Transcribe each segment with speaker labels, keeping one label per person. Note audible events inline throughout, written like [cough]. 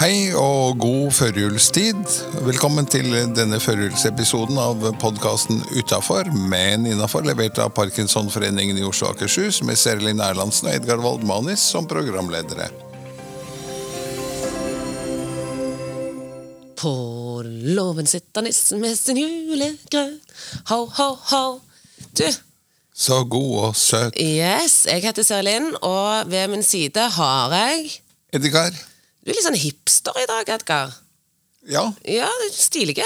Speaker 1: Hei og god førjulstid. Velkommen til denne førjulsepisoden av podkasten Utafor, men innafor, levert av Parkinsonforeningen i Oslo og Akershus med Serlin Erlandsen og Edgar Waldmanis som programledere.
Speaker 2: På låven sitter nissen med sin julegrøt. Ho, ho, ho. Du,
Speaker 1: Så god og søt.
Speaker 2: yes, jeg heter Serlin, og ved min side har jeg
Speaker 1: Edgar?
Speaker 2: Du er litt sånn hipster i dag, Edgar.
Speaker 1: Ja.
Speaker 2: Ja, du er stilig.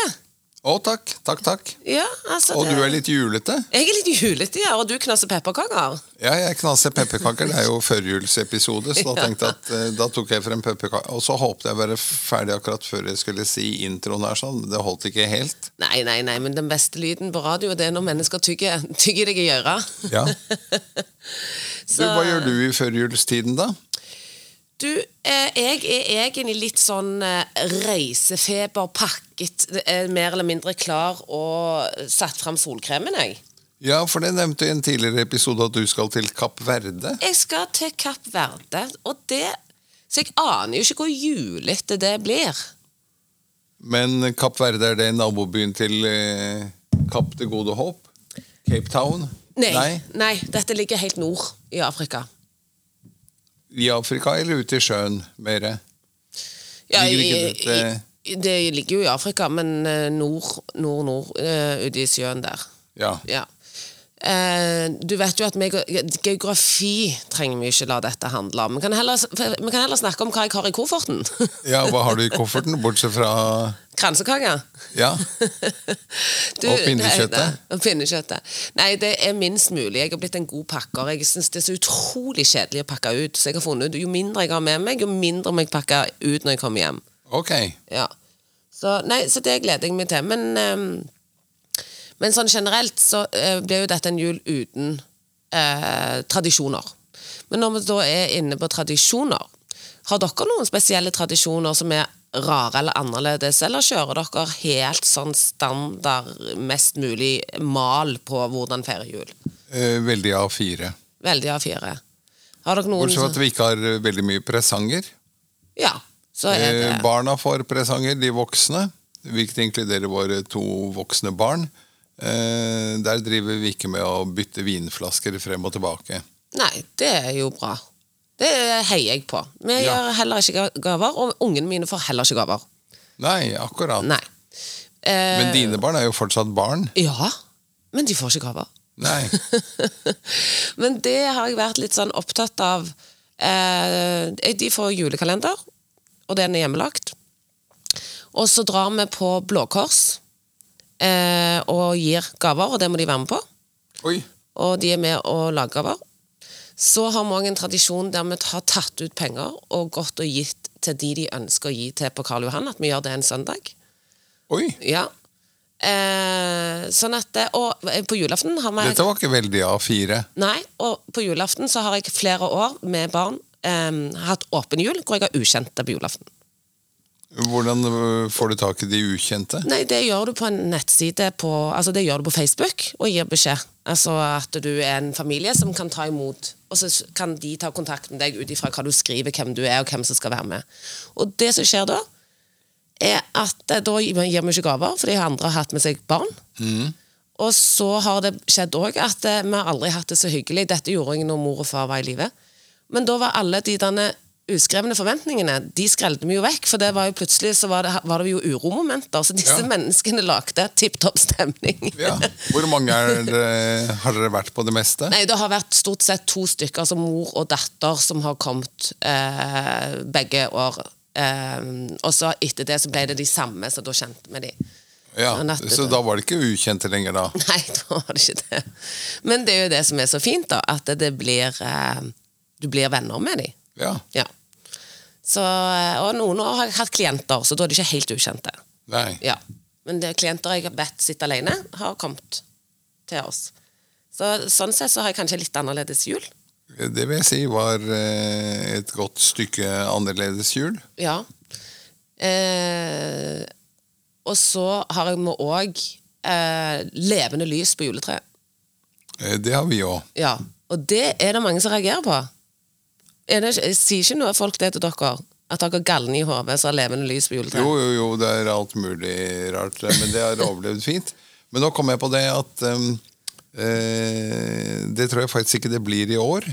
Speaker 1: Å, takk. Takk, takk.
Speaker 2: Ja, altså
Speaker 1: Og
Speaker 2: det-
Speaker 1: du er litt julete?
Speaker 2: Jeg er litt julete, ja, og du knaser pepperkaker.
Speaker 1: Ja, jeg knaser pepperkaker. Det er jo førjulsepisode, så da tenkte jeg at eh, da tok jeg frem pepperkaker. Og så håpet jeg å være ferdig akkurat før jeg skulle si introen her, sånn. Det holdt ikke helt.
Speaker 2: Nei, nei, nei, men den beste lyden på radio det er når mennesker tygger, tygger deg i øret.
Speaker 1: Ja. Du, hva gjør du i førjulstiden, da?
Speaker 2: Du, eh, jeg er egentlig litt sånn eh, reisefeber pakket, eh, mer eller mindre klar og satt fram solkremen, jeg.
Speaker 1: Ja, for det nevnte jeg i en tidligere episode at du skal til Kapp Verde.
Speaker 2: Jeg skal til Kapp Verde, og det Så jeg aner jo ikke hvor julete det blir.
Speaker 1: Men Kapp Verde, er det nabobyen til eh, Kapp det gode håp? Cape Town?
Speaker 2: Nei, dette ligger helt nord i Afrika.
Speaker 1: I Afrika eller ute i sjøen mer?
Speaker 2: Ja,
Speaker 1: Ligger
Speaker 2: i,
Speaker 1: ikke eh? dette-
Speaker 2: i, det ligger jo i Afrika, men eh, nord, nord, nord, eh, ute i sjøen der.
Speaker 1: Ja.
Speaker 2: Ja. Eh, du vet jo at meg, og- geografi trenger vi ikke la dette handle om. Vi kan heller, vi kan heller snakke om hva jeg har i kofferten. [laughs]
Speaker 1: ja. Hva har du i kofferten, bortsett fra
Speaker 2: Kransekake.
Speaker 1: Ja.
Speaker 2: Du,
Speaker 1: [laughs] Og pinnekjøttet.
Speaker 2: Nei, nei, og pinnekjøttet. Nei, det er minst mulig. Jeg har blitt en god pakker. Jeg syns det er så utrolig kjedelig å pakke ut. Så jeg har funnet ut jo mindre jeg har med meg, jo mindre må jeg pakke ut når jeg kommer hjem.
Speaker 1: Ok.
Speaker 2: Ja. Så, nei, så det gleder jeg meg til. Men, ehm, men sånn generelt så eh, blir jo dette en jul uten eh, tradisjoner. Men når vi da er inne på tradisjoner, har dere noen spesielle tradisjoner som er rare eller annerledes, eller kjører dere helt sånn standard, mest mulig mal på hvordan feire jul?
Speaker 1: Eh, Veldig A4.
Speaker 2: Veldig A4. Har dere noen
Speaker 1: Bortsett
Speaker 2: sånn-
Speaker 1: fra at vi ikke har eh, veldig mye presanger.
Speaker 2: Ja, så er det
Speaker 1: Eh, Barna får presanger, de voksne. Hvilket inkluderer våre to voksne barn. Eh, der driver vi ikke med å bytte vinflasker frem og tilbake.
Speaker 2: Nei, det er jo bra. Det heier jeg på. Vi
Speaker 1: Ja.
Speaker 2: gjør heller ikke ga- gaver, og ungene mine får heller ikke gaver.
Speaker 1: Nei, akkurat.
Speaker 2: Nei. Eh,
Speaker 1: Men dine barn er jo fortsatt barn.
Speaker 2: Ja, men de får ikke gaver.
Speaker 1: Nei.
Speaker 2: [laughs] men det har jeg vært litt sånn opptatt av. Eh, de får julekalender, og den er hjemmelagt. Og så drar vi på Blå Kors eh, og gir gaver, og det må de være med på.
Speaker 1: Oi.
Speaker 2: og de er med og lager gaver. Så har vi også en tradisjon der vi har tatt ut penger og gått og gitt til de de ønsker å gi til på Karl Johan, at vi gjør det en søndag.
Speaker 1: Oi.
Speaker 2: Ja. Eh, sånn at det, Og på julaften har vi
Speaker 1: Dette var ikke veldig A4.
Speaker 2: Nei, og på julaften så har jeg flere år med barn eh, hatt åpen jul hvor jeg har ukjente på julaften.
Speaker 1: Hvordan øh, får du tak i de ukjente?
Speaker 2: Nei, det gjør du på en nettside på, altså det gjør du på Facebook og gir beskjed. Altså at du er en familie som kan ta imot, og så s- kan de ta kontakt med deg ut ifra hva du skriver, hvem du er og hvem som skal være med. Og det som skjer da, er at eh, da gir vi gir vi ikke gaver, fordi andre har hatt med seg barn.
Speaker 1: Mm.
Speaker 2: Og så har det skjedd òg at eh, vi har aldri hatt det så hyggelig. Dette gjorde jeg når mor og far var i live. Men da var alle de derne uskrevne forventningene de skrelte vi jo vekk. For det var jo plutselig så var det, var det jo uromomenter. Så disse
Speaker 1: Ja.
Speaker 2: menneskene lagde tipp topp stemning.
Speaker 1: Ja. Hvor mange er dere, har dere vært på det meste?
Speaker 2: [laughs] Nei, Det har vært stort sett to stykker, altså mor og datter, som har kommet eh, begge år. Eh, og så etter det så ble det de samme, så da kjente vi de.
Speaker 1: Ja.
Speaker 2: nettopp.
Speaker 1: Så da var det ikke ukjente lenger, da.
Speaker 2: [laughs] Nei, da var det ikke det. Men det er jo det som er så fint, da. At det blir eh, Du blir venner med dem.
Speaker 1: Ja.
Speaker 2: Ja. Så, eh, og noen år har jeg hatt klienter, så da er de ikke helt ukjente.
Speaker 1: Nei.
Speaker 2: Ja. Men det er klienter jeg vet sitter alene, har kommet til oss. Så, sånn sett så har jeg kanskje litt annerledes jul.
Speaker 1: Det vil jeg si var eh, et godt stykke annerledes jul.
Speaker 2: Ja. Eh, og så har jeg med òg eh, levende lys på juletreet.
Speaker 1: Eh, Det har vi òg.
Speaker 2: Ja. Og det er det mange som reagerer på. er det, ikke- sier ikke noe folk det til dere? At dere har galne i hodet som har levende lys på juletreet?
Speaker 1: Jo, jo, jo, det er alt mulig rart, men det har overlevd fint. Men nå kom jeg på det at ehm, eh, Det tror jeg faktisk ikke det blir i år.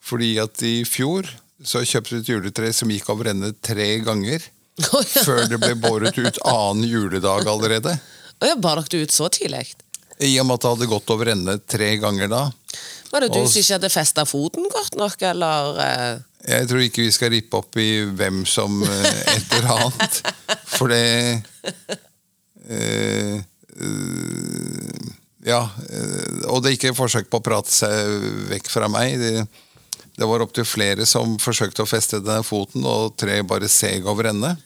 Speaker 1: Fordi at i fjor så kjøpte vi et juletre som gikk av ende tre ganger. Før det ble båret ut annen juledag allerede.
Speaker 2: Og jeg bar dere det ut så tidlig.
Speaker 1: I og med at det hadde gått over ende tre ganger da.
Speaker 2: Var det du
Speaker 1: Og-
Speaker 2: som ikke hadde festa foten godt nok, eller eh,
Speaker 1: Jeg tror ikke vi skal rippe opp i hvem som eh, et eller annet. For det eh, eh, Ja. eh, og det er ikke forsøk på å prate seg vekk fra meg. Det, det var opptil flere som forsøkte å feste denne foten, og tre bare seg over ende.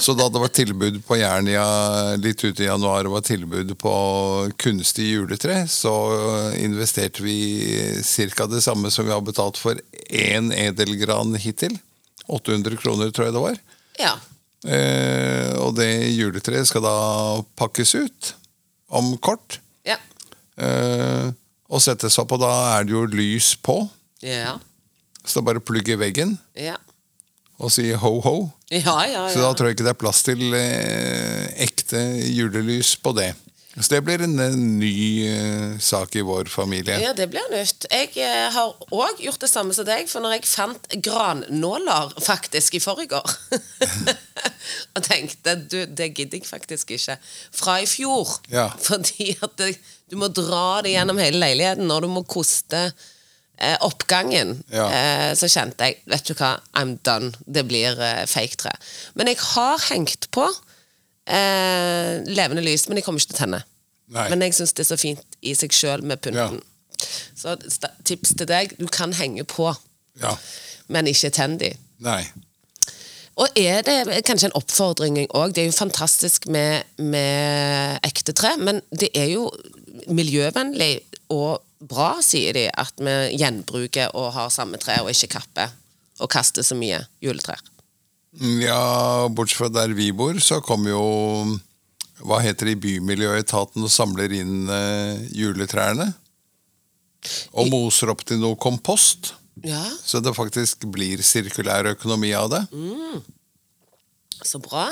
Speaker 1: Så da det var tilbud på Jernia litt ute i januar, og var tilbud på kunstig juletre, så investerte vi ca. det samme som vi har betalt for én edelgran hittil. 800 kroner, tror jeg det var.
Speaker 2: Ja.
Speaker 1: Eh, og det juletreet skal da pakkes ut om kort
Speaker 2: Ja.
Speaker 1: eh, og settes opp, og da er det jo lys på.
Speaker 2: Ja.
Speaker 1: Så det er bare å plugge i veggen
Speaker 2: Ja,
Speaker 1: og si ho-ho.
Speaker 2: ja. ja,
Speaker 1: Så da
Speaker 2: ja.
Speaker 1: tror jeg ikke det er plass til eh, ekte julelys på det. Så det blir en, eh, ny eh, sak i vår familie.
Speaker 2: Ja, det blir nytt. Jeg eh, har òg gjort det samme som deg, for når jeg fant grannåler faktisk i forrgår [laughs] Og tenkte du, det gidder jeg faktisk ikke. Fra i fjor.
Speaker 1: Ja.
Speaker 2: Fordi at det, du må dra det gjennom hele leiligheten, og du må koste eh, oppgangen.
Speaker 1: Ja.
Speaker 2: Eh, så kjente jeg Vet du hva, I'm done. Det blir eh, fake tre. Men jeg har hengt på eh, levende lys, men jeg kommer ikke til å tenne.
Speaker 1: Nei.
Speaker 2: Men jeg syns det er så fint i seg sjøl med pynten. Så sta- tips til deg, du kan henge på,
Speaker 1: Ja.
Speaker 2: men ikke tenn de.
Speaker 1: Nei.
Speaker 2: Og er det kanskje en oppfordring òg? Det er jo fantastisk med, med ekte tre, men det er jo miljøvennlig og bra, sier de, at vi gjenbruker og har samme tre og ikke kapper og kaster så mye juletrær.
Speaker 1: Mm, Ja, bortsett fra der vi bor, så kommer jo Hva heter det i Bymiljøetaten og samler inn eh, juletrærne? Og moser opp til noe kompost.
Speaker 2: Ja,
Speaker 1: Så det faktisk blir sirkulær økonomi av det.
Speaker 2: Mm. så bra.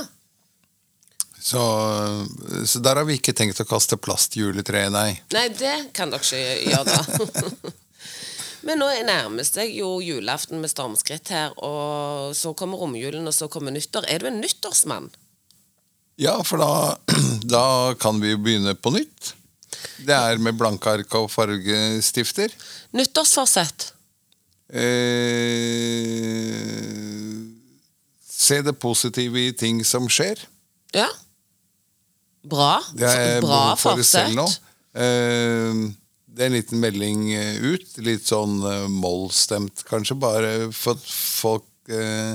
Speaker 1: Så, eh, så der har vi ikke tenkt å kaste plastjuletre, nei.
Speaker 2: Nei, det kan dere ikke gjøre da. [laughs] Men nå er nærmest jeg jo julaften med stormskritt her, og så kommer romjulen, og så kommer nyttår. Er du en nyttårsmann?
Speaker 1: Ja, for da, [clears throat] da kan vi jo begynne på nytt. Det er med blanke ark og fargestifter.
Speaker 2: Nyttårsforsett?
Speaker 1: Eh, se det positive i ting som skjer.
Speaker 2: Ja. Bra.
Speaker 1: Det er
Speaker 2: Bra
Speaker 1: behov for det
Speaker 2: forsett.
Speaker 1: selv nå. Eh, det er en liten melding eh, ut. Litt sånn eh, mollstemt, kanskje. Bare for at folk eh,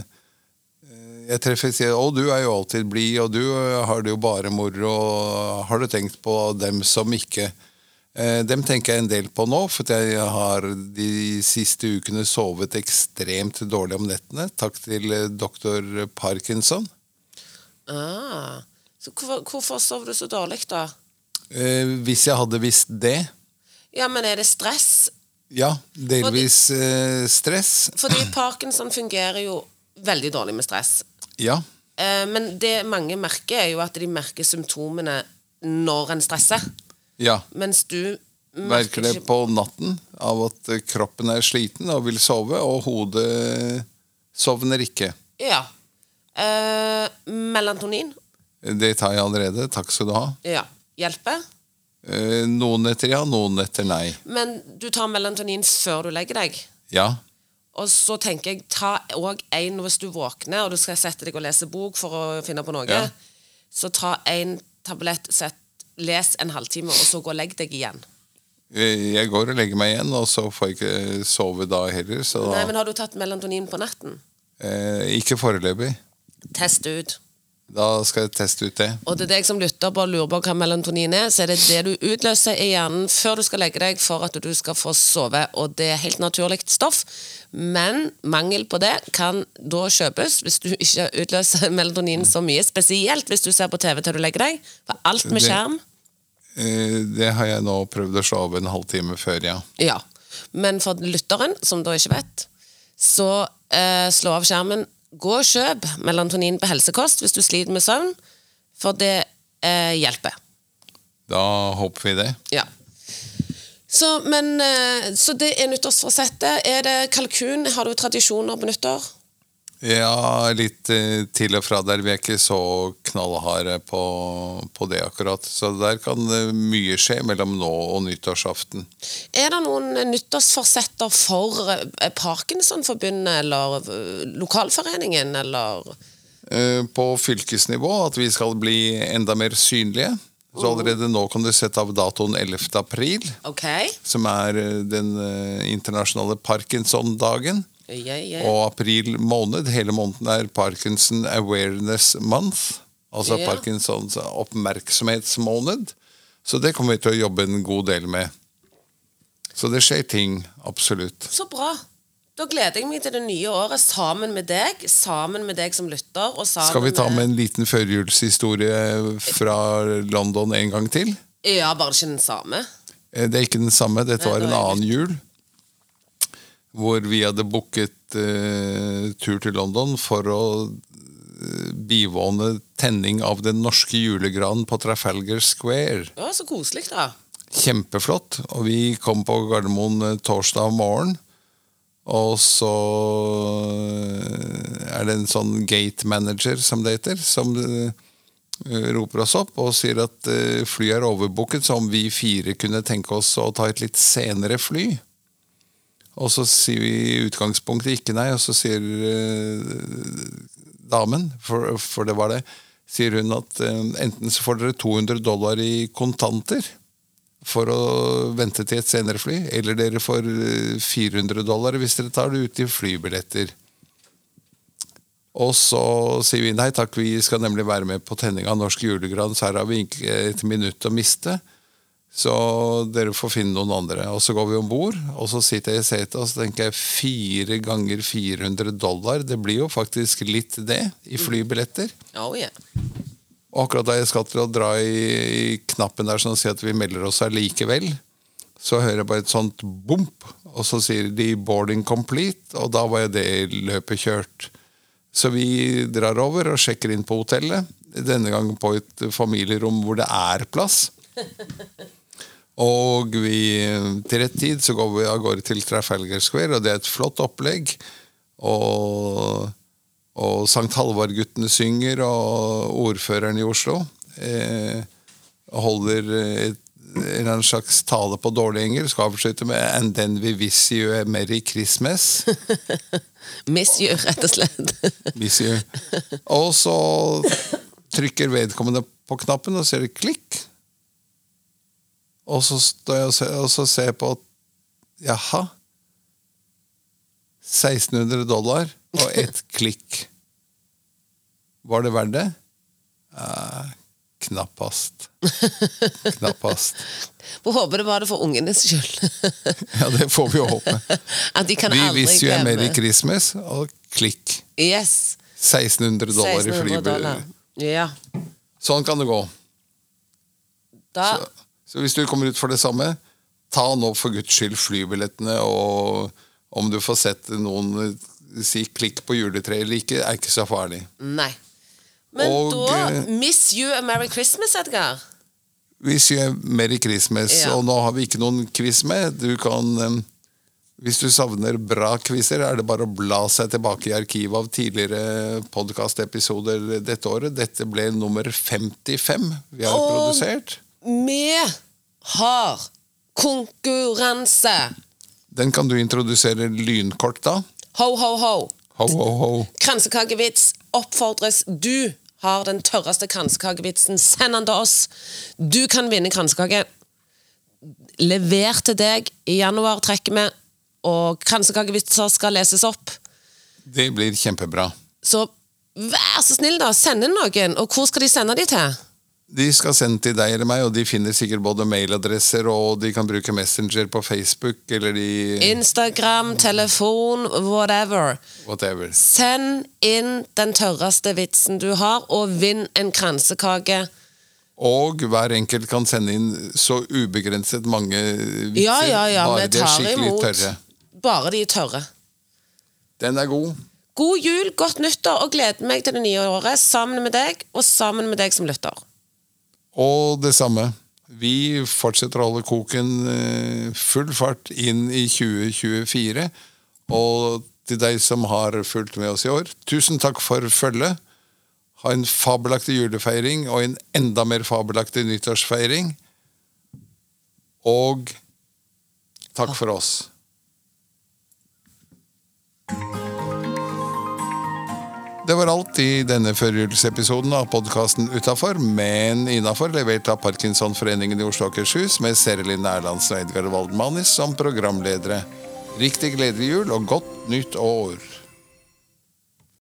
Speaker 1: eh, Jeg treffer og sier 'Å, du er jo alltid blid', og 'du eh, har det jo bare moro', og 'har du tenkt på dem som ikke' Eh, Dem tenker jeg en del på nå, for at jeg har de siste ukene sovet ekstremt dårlig om nettene. Takk til eh, doktor Parkinson.
Speaker 2: Ah. Så hvorfor, hvorfor sov du så dårlig, da?
Speaker 1: Eh, Hvis jeg hadde visst det,
Speaker 2: Ja, men er det stress?
Speaker 1: Ja, delvis eh, stress. [clears throat]
Speaker 2: Fordi Parkinson fungerer jo veldig dårlig med stress.
Speaker 1: Ja.
Speaker 2: Eh, Men det mange merker, er jo at de merker symptomene når en stresser.
Speaker 1: ja.
Speaker 2: Mens du
Speaker 1: Merker det på natten av at eh, kroppen er sliten og vil sove, og hodet eh, sovner ikke.
Speaker 2: Ja. Eh, melatonin.
Speaker 1: Det tar jeg allerede. Takk skal du ha.
Speaker 2: Ja. Hjelper.
Speaker 1: Eh, Noen netter ja, noen netter nei.
Speaker 2: Men du tar melatonin før du legger deg.
Speaker 1: Ja.
Speaker 2: Og så tenker jeg, ta òg en hvis du våkner og du skal sette deg og lese bok for å finne på noe.
Speaker 1: Ja.
Speaker 2: Så ta en tablett, sett, les en halvtime, og så gå og legg deg igjen.
Speaker 1: Eh, Jeg går og legger meg igjen, og så får jeg ikke eh, sove da heller. Så da,
Speaker 2: Nei, men Har du tatt melatonin på natten?
Speaker 1: eh, ikke foreløpig.
Speaker 2: Test det ut.
Speaker 1: Da skal jeg teste ut det.
Speaker 2: Og til deg som lytter på og lurer på hva melatonin er, så er det det du utløser i hjernen før du skal legge deg for at du skal få sove, og det er helt naturlig stoff. Men mangel på det kan da kjøpes hvis du ikke utløser [laughs] melatonin så mye, spesielt hvis du ser på TV til du legger deg, for alt med
Speaker 1: Det-
Speaker 2: skjerm.
Speaker 1: Eh, Det har jeg nå prøvd å slå av en halvtime før, ja.
Speaker 2: Ja. Men for lytteren, som da ikke vet, Så eh, slå av skjermen. Gå og kjøp melatonin på helsekost hvis du sliter med søvn, for det eh, hjelper.
Speaker 1: Da håper vi det.
Speaker 2: Ja. Så, men, eh, så det er nyttårsforsettet. Er det kalkun? Har du tradisjoner på nyttår?
Speaker 1: Ja, litt eh, til og fra der. Vi er ikke så knallharde på, på det akkurat. Så der kan eh, mye skje mellom nå og nyttårsaften.
Speaker 2: Er det noen nyttårsforsetter for eh, Parkinsonforbundet eller eh, lokalforeningen, eller
Speaker 1: Eh, På fylkesnivå at vi skal bli enda mer synlige. Så allerede nå kan du sette av datoen 11. april,
Speaker 2: OK?
Speaker 1: som er eh, den eh, internasjonale Parkinson-dagen.
Speaker 2: Ja, ja.
Speaker 1: Og april måned, hele måneden er Parkinson Awareness Month. Altså
Speaker 2: Ja.
Speaker 1: Parkinsons oppmerksomhetsmåned. Så det kommer vi til å jobbe en god del med. Så det skjer ting, absolutt.
Speaker 2: Så bra. Da gleder jeg meg til det nye året sammen med deg, sammen med deg som lytter. Og sammen
Speaker 1: Skal vi ta med en liten førjulshistorie fra London en gang til?
Speaker 2: Ja, bare ikke den samme.
Speaker 1: Eh, Det er ikke den samme, dette
Speaker 2: Nei,
Speaker 1: var
Speaker 2: det
Speaker 1: en
Speaker 2: var
Speaker 1: annen jul. Hvor vi hadde booket eh, tur til London for å eh, bivåne tenning av den norske julegranen på Trafalgar Square.
Speaker 2: Å, så koselig, da.
Speaker 1: Kjempeflott. Og vi kom på Gardermoen eh, torsdag morgen. Og så eh, er det en sånn gate manager, som det heter, som eh, roper oss opp og sier at eh, flyet er overbooket, så om vi fire kunne tenke oss å ta et litt senere fly. Og så sier vi i utgangspunktet ikke nei, og så sier eh, damen, for, for det var det, sier hun at eh, enten så får dere 200 dollar i kontanter for å vente til et senere fly, eller dere får eh, 400 dollar hvis dere tar det ut i flybilletter. Og så sier vi nei takk, vi skal nemlig være med på tenning av norsk julegran, så her har vi ikke et minutt å miste. Så dere får finne noen andre. Og så går vi om bord, og så sitter jeg i setet og så tenker jeg fire ganger 400 dollar, det blir jo faktisk litt det i flybilletter.
Speaker 2: Oh, yeah.
Speaker 1: Og akkurat da jeg skal til å dra i, i knappen der som sier at vi melder oss allikevel, så hører jeg bare et sånt bump, og så sier de 'boarding complete', og da var jo det løpet kjørt. Så vi drar over og sjekker inn på hotellet, denne gangen på et familierom hvor det er plass. Og vi, til rett tid så går vi av gårde til Trafalgar Square, og det er et flott opplegg. Og, og Sankt Halvard-guttene synger, og ordføreren i Oslo eh, holder et, en eller annen slags tale på dårlig engelsk og avslutter med 'And then we wish you a merry Christmas'.
Speaker 2: Miss you, rett og [laughs] slett.
Speaker 1: Miss you. Og så trykker vedkommende på knappen, og så gjør det klikk. Og så står jeg og ser, og så ser jeg på at Jaha. 1600 dollar og
Speaker 2: [laughs]
Speaker 1: ett klikk. Var det verdt det? Eh, knappast. Knappast.
Speaker 2: Får håpe det var det for ungenes skyld.
Speaker 1: Ja, det får vi jo
Speaker 2: [laughs]
Speaker 1: håpe.
Speaker 2: At de kan
Speaker 1: Vi
Speaker 2: aldri
Speaker 1: visste jo
Speaker 2: glemme.
Speaker 1: Merry Christmas og klikk.
Speaker 2: Yes.
Speaker 1: 1600 dollar i
Speaker 2: 1600 dollar.
Speaker 1: flybudet.
Speaker 2: Ja.
Speaker 1: Sånn kan det gå.
Speaker 2: Da,
Speaker 1: Så, så hvis du kommer ut for det samme, ta nå for guds skyld flybillettene, og om du får sett noen eh, si klikk på juletreet eller ikke, er ikke så farlig.
Speaker 2: nei. Men
Speaker 1: Og,
Speaker 2: da
Speaker 1: eh,
Speaker 2: Miss you a merry Christmas, Edgar.
Speaker 1: Vi sier Merry Christmas,
Speaker 2: Ja.
Speaker 1: og nå har vi ikke noen quiz med. Du kan eh, Hvis du savner bra quizer, er det bare å bla seg tilbake i arkivet av tidligere podkastepisoder dette året. Dette ble nummer 55 vi har
Speaker 2: Åh.
Speaker 1: produsert.
Speaker 2: Vi har konkurranse.
Speaker 1: Den kan du introdusere lynkort, da.
Speaker 2: Ho, ho, ho.
Speaker 1: Ho, ho, ho.
Speaker 2: Kransekakevits oppfordres. Du har den tørreste kransekakevitsen. Send den til oss. Du kan vinne kransekake. Lever til deg. I januar trekker vi, og kransekakevitser skal leses opp.
Speaker 1: Det blir kjempebra.
Speaker 2: Så vær så snill, da. Send inn noen. Og hvor skal de sende de til?
Speaker 1: De skal sende til deg eller meg, og de finner sikkert både mailadresser og de kan bruke Messenger på Facebook eller de
Speaker 2: Instagram, telefon, whatever.
Speaker 1: whatever.
Speaker 2: Send inn den tørreste vitsen du har, og vinn en kransekake.
Speaker 1: Og hver enkelt kan sende inn så ubegrenset mange vitser.
Speaker 2: Ja, ja, ja,
Speaker 1: bare de
Speaker 2: vi
Speaker 1: er
Speaker 2: tar
Speaker 1: skikkelig
Speaker 2: imot.
Speaker 1: tørre.
Speaker 2: Bare de er tørre.
Speaker 1: Den er god.
Speaker 2: God jul, godt nyttår, og gleder meg til det nye året sammen med deg, og sammen med deg som lytter.
Speaker 1: Og det samme. Vi fortsetter å holde koken eh, full fart inn i 2024. Og til deg som har fulgt med oss i år, tusen takk for følget. Ha en fabelaktig julefeiring og en enda mer fabelaktig nyttårsfeiring. Og takk for oss. Det var alt i denne førjulsepisoden av podkasten Utafor, men innafor, levert av Parkinsonforeningen i Oslo og Akershus med Serelin Erlandsen og Edgar Waldmanis som programledere. Riktig gledelig jul og godt nytt år.